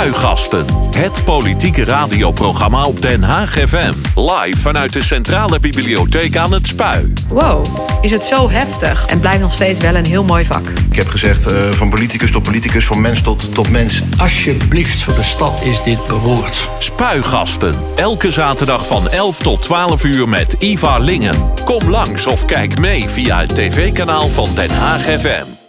Spuigasten. Het politieke radioprogramma op Den Haag FM. Live vanuit de Centrale Bibliotheek aan het Spui. Wow, is het zo heftig. En blijft nog steeds wel een heel mooi vak. Ik heb gezegd, eh, van politicus tot politicus, van mens tot, tot mens. Alsjeblieft, voor de stad is dit beroerd. Spuigasten. Elke zaterdag van 11 tot 12 uur met Ivar Lingen. Kom langs of kijk mee via het tv-kanaal van Den Haag FM.